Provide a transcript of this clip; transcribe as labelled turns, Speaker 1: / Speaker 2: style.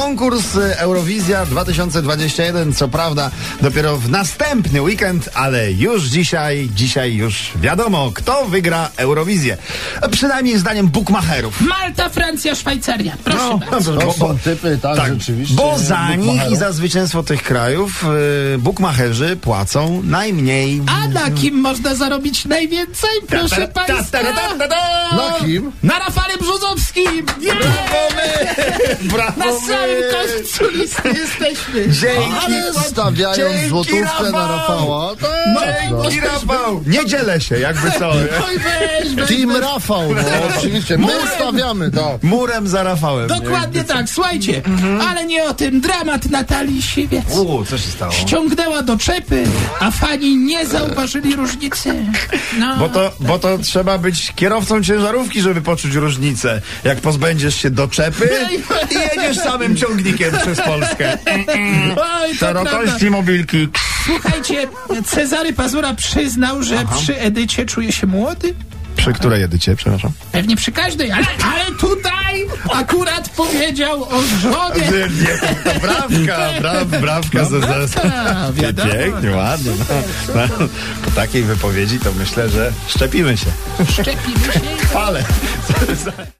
Speaker 1: konkurs y, Eurowizja 2021. Co prawda dopiero w następny weekend, ale już dzisiaj, dzisiaj już wiadomo, kto wygra Eurowizję. A Przynajmniej zdaniem bukmacherów. No,
Speaker 2: Malta, Francja, Szwajcaria. Proszę bardzo.
Speaker 1: bo-
Speaker 3: No, To
Speaker 1: bo-
Speaker 3: są typy, tak, rzeczywiście.
Speaker 1: Bo za nich i
Speaker 3: bukmacherów.
Speaker 1: za zwycięstwo tych krajów y, bukmacherzy płacą najmniej.
Speaker 2: A na kim można zarobić najwięcej? Proszę
Speaker 1: Ta- ta- ta-
Speaker 2: państwa.
Speaker 1: ta- ta- ta- ta-
Speaker 3: Na kim?
Speaker 2: Na Rafale Brzozowskim!
Speaker 1: Brawo my! Brawo
Speaker 2: Na samym
Speaker 1: my!
Speaker 2: końcu listy jesteśmy.
Speaker 3: Ale
Speaker 1: Dzięki,
Speaker 3: stawiając
Speaker 1: Dzięki,
Speaker 3: złotówkę na
Speaker 1: Rafał!
Speaker 3: Rafała, tak, no.
Speaker 1: dzięki Rafał! Nie dzielę się, jakby co.
Speaker 2: Oj, weź, weź,
Speaker 3: Team Rafał, no oczywiście, my
Speaker 1: Murem.
Speaker 3: stawiamy, tak.
Speaker 1: Murem za Rafałem.
Speaker 2: Dokładnie tak, słuchajcie, ale nie o tym. Dramat Natalii Siwiec.
Speaker 1: Uuu, co się stało?
Speaker 2: Ściągnęła do czepy, a fani nie zauważyli różnicy. No.
Speaker 1: Bo to, bo to trzeba być kierowcą ciężarówki, żeby poczuć różnicę. Jak pozbędziesz się doczepy i jedziesz samym ciągnikiem przez Polskę.
Speaker 2: Oj, to prawda.
Speaker 1: Szerokości mobilki.
Speaker 2: Słuchajcie, Cezary Pazura przyznał, że przy Edycie czuje się młody.
Speaker 1: Przy której jedycie, przepraszam?
Speaker 2: Pewnie przy każdej, ale, ale tutaj akurat powiedział o żonie.
Speaker 1: Nie, nie, to brawka, braw, brawka ze ze-
Speaker 2: A, wiadomo.
Speaker 1: Pięknie, ładnie. No, no, po takiej wypowiedzi to myślę, że szczepimy się.
Speaker 2: Szczepimy się.
Speaker 1: Ale.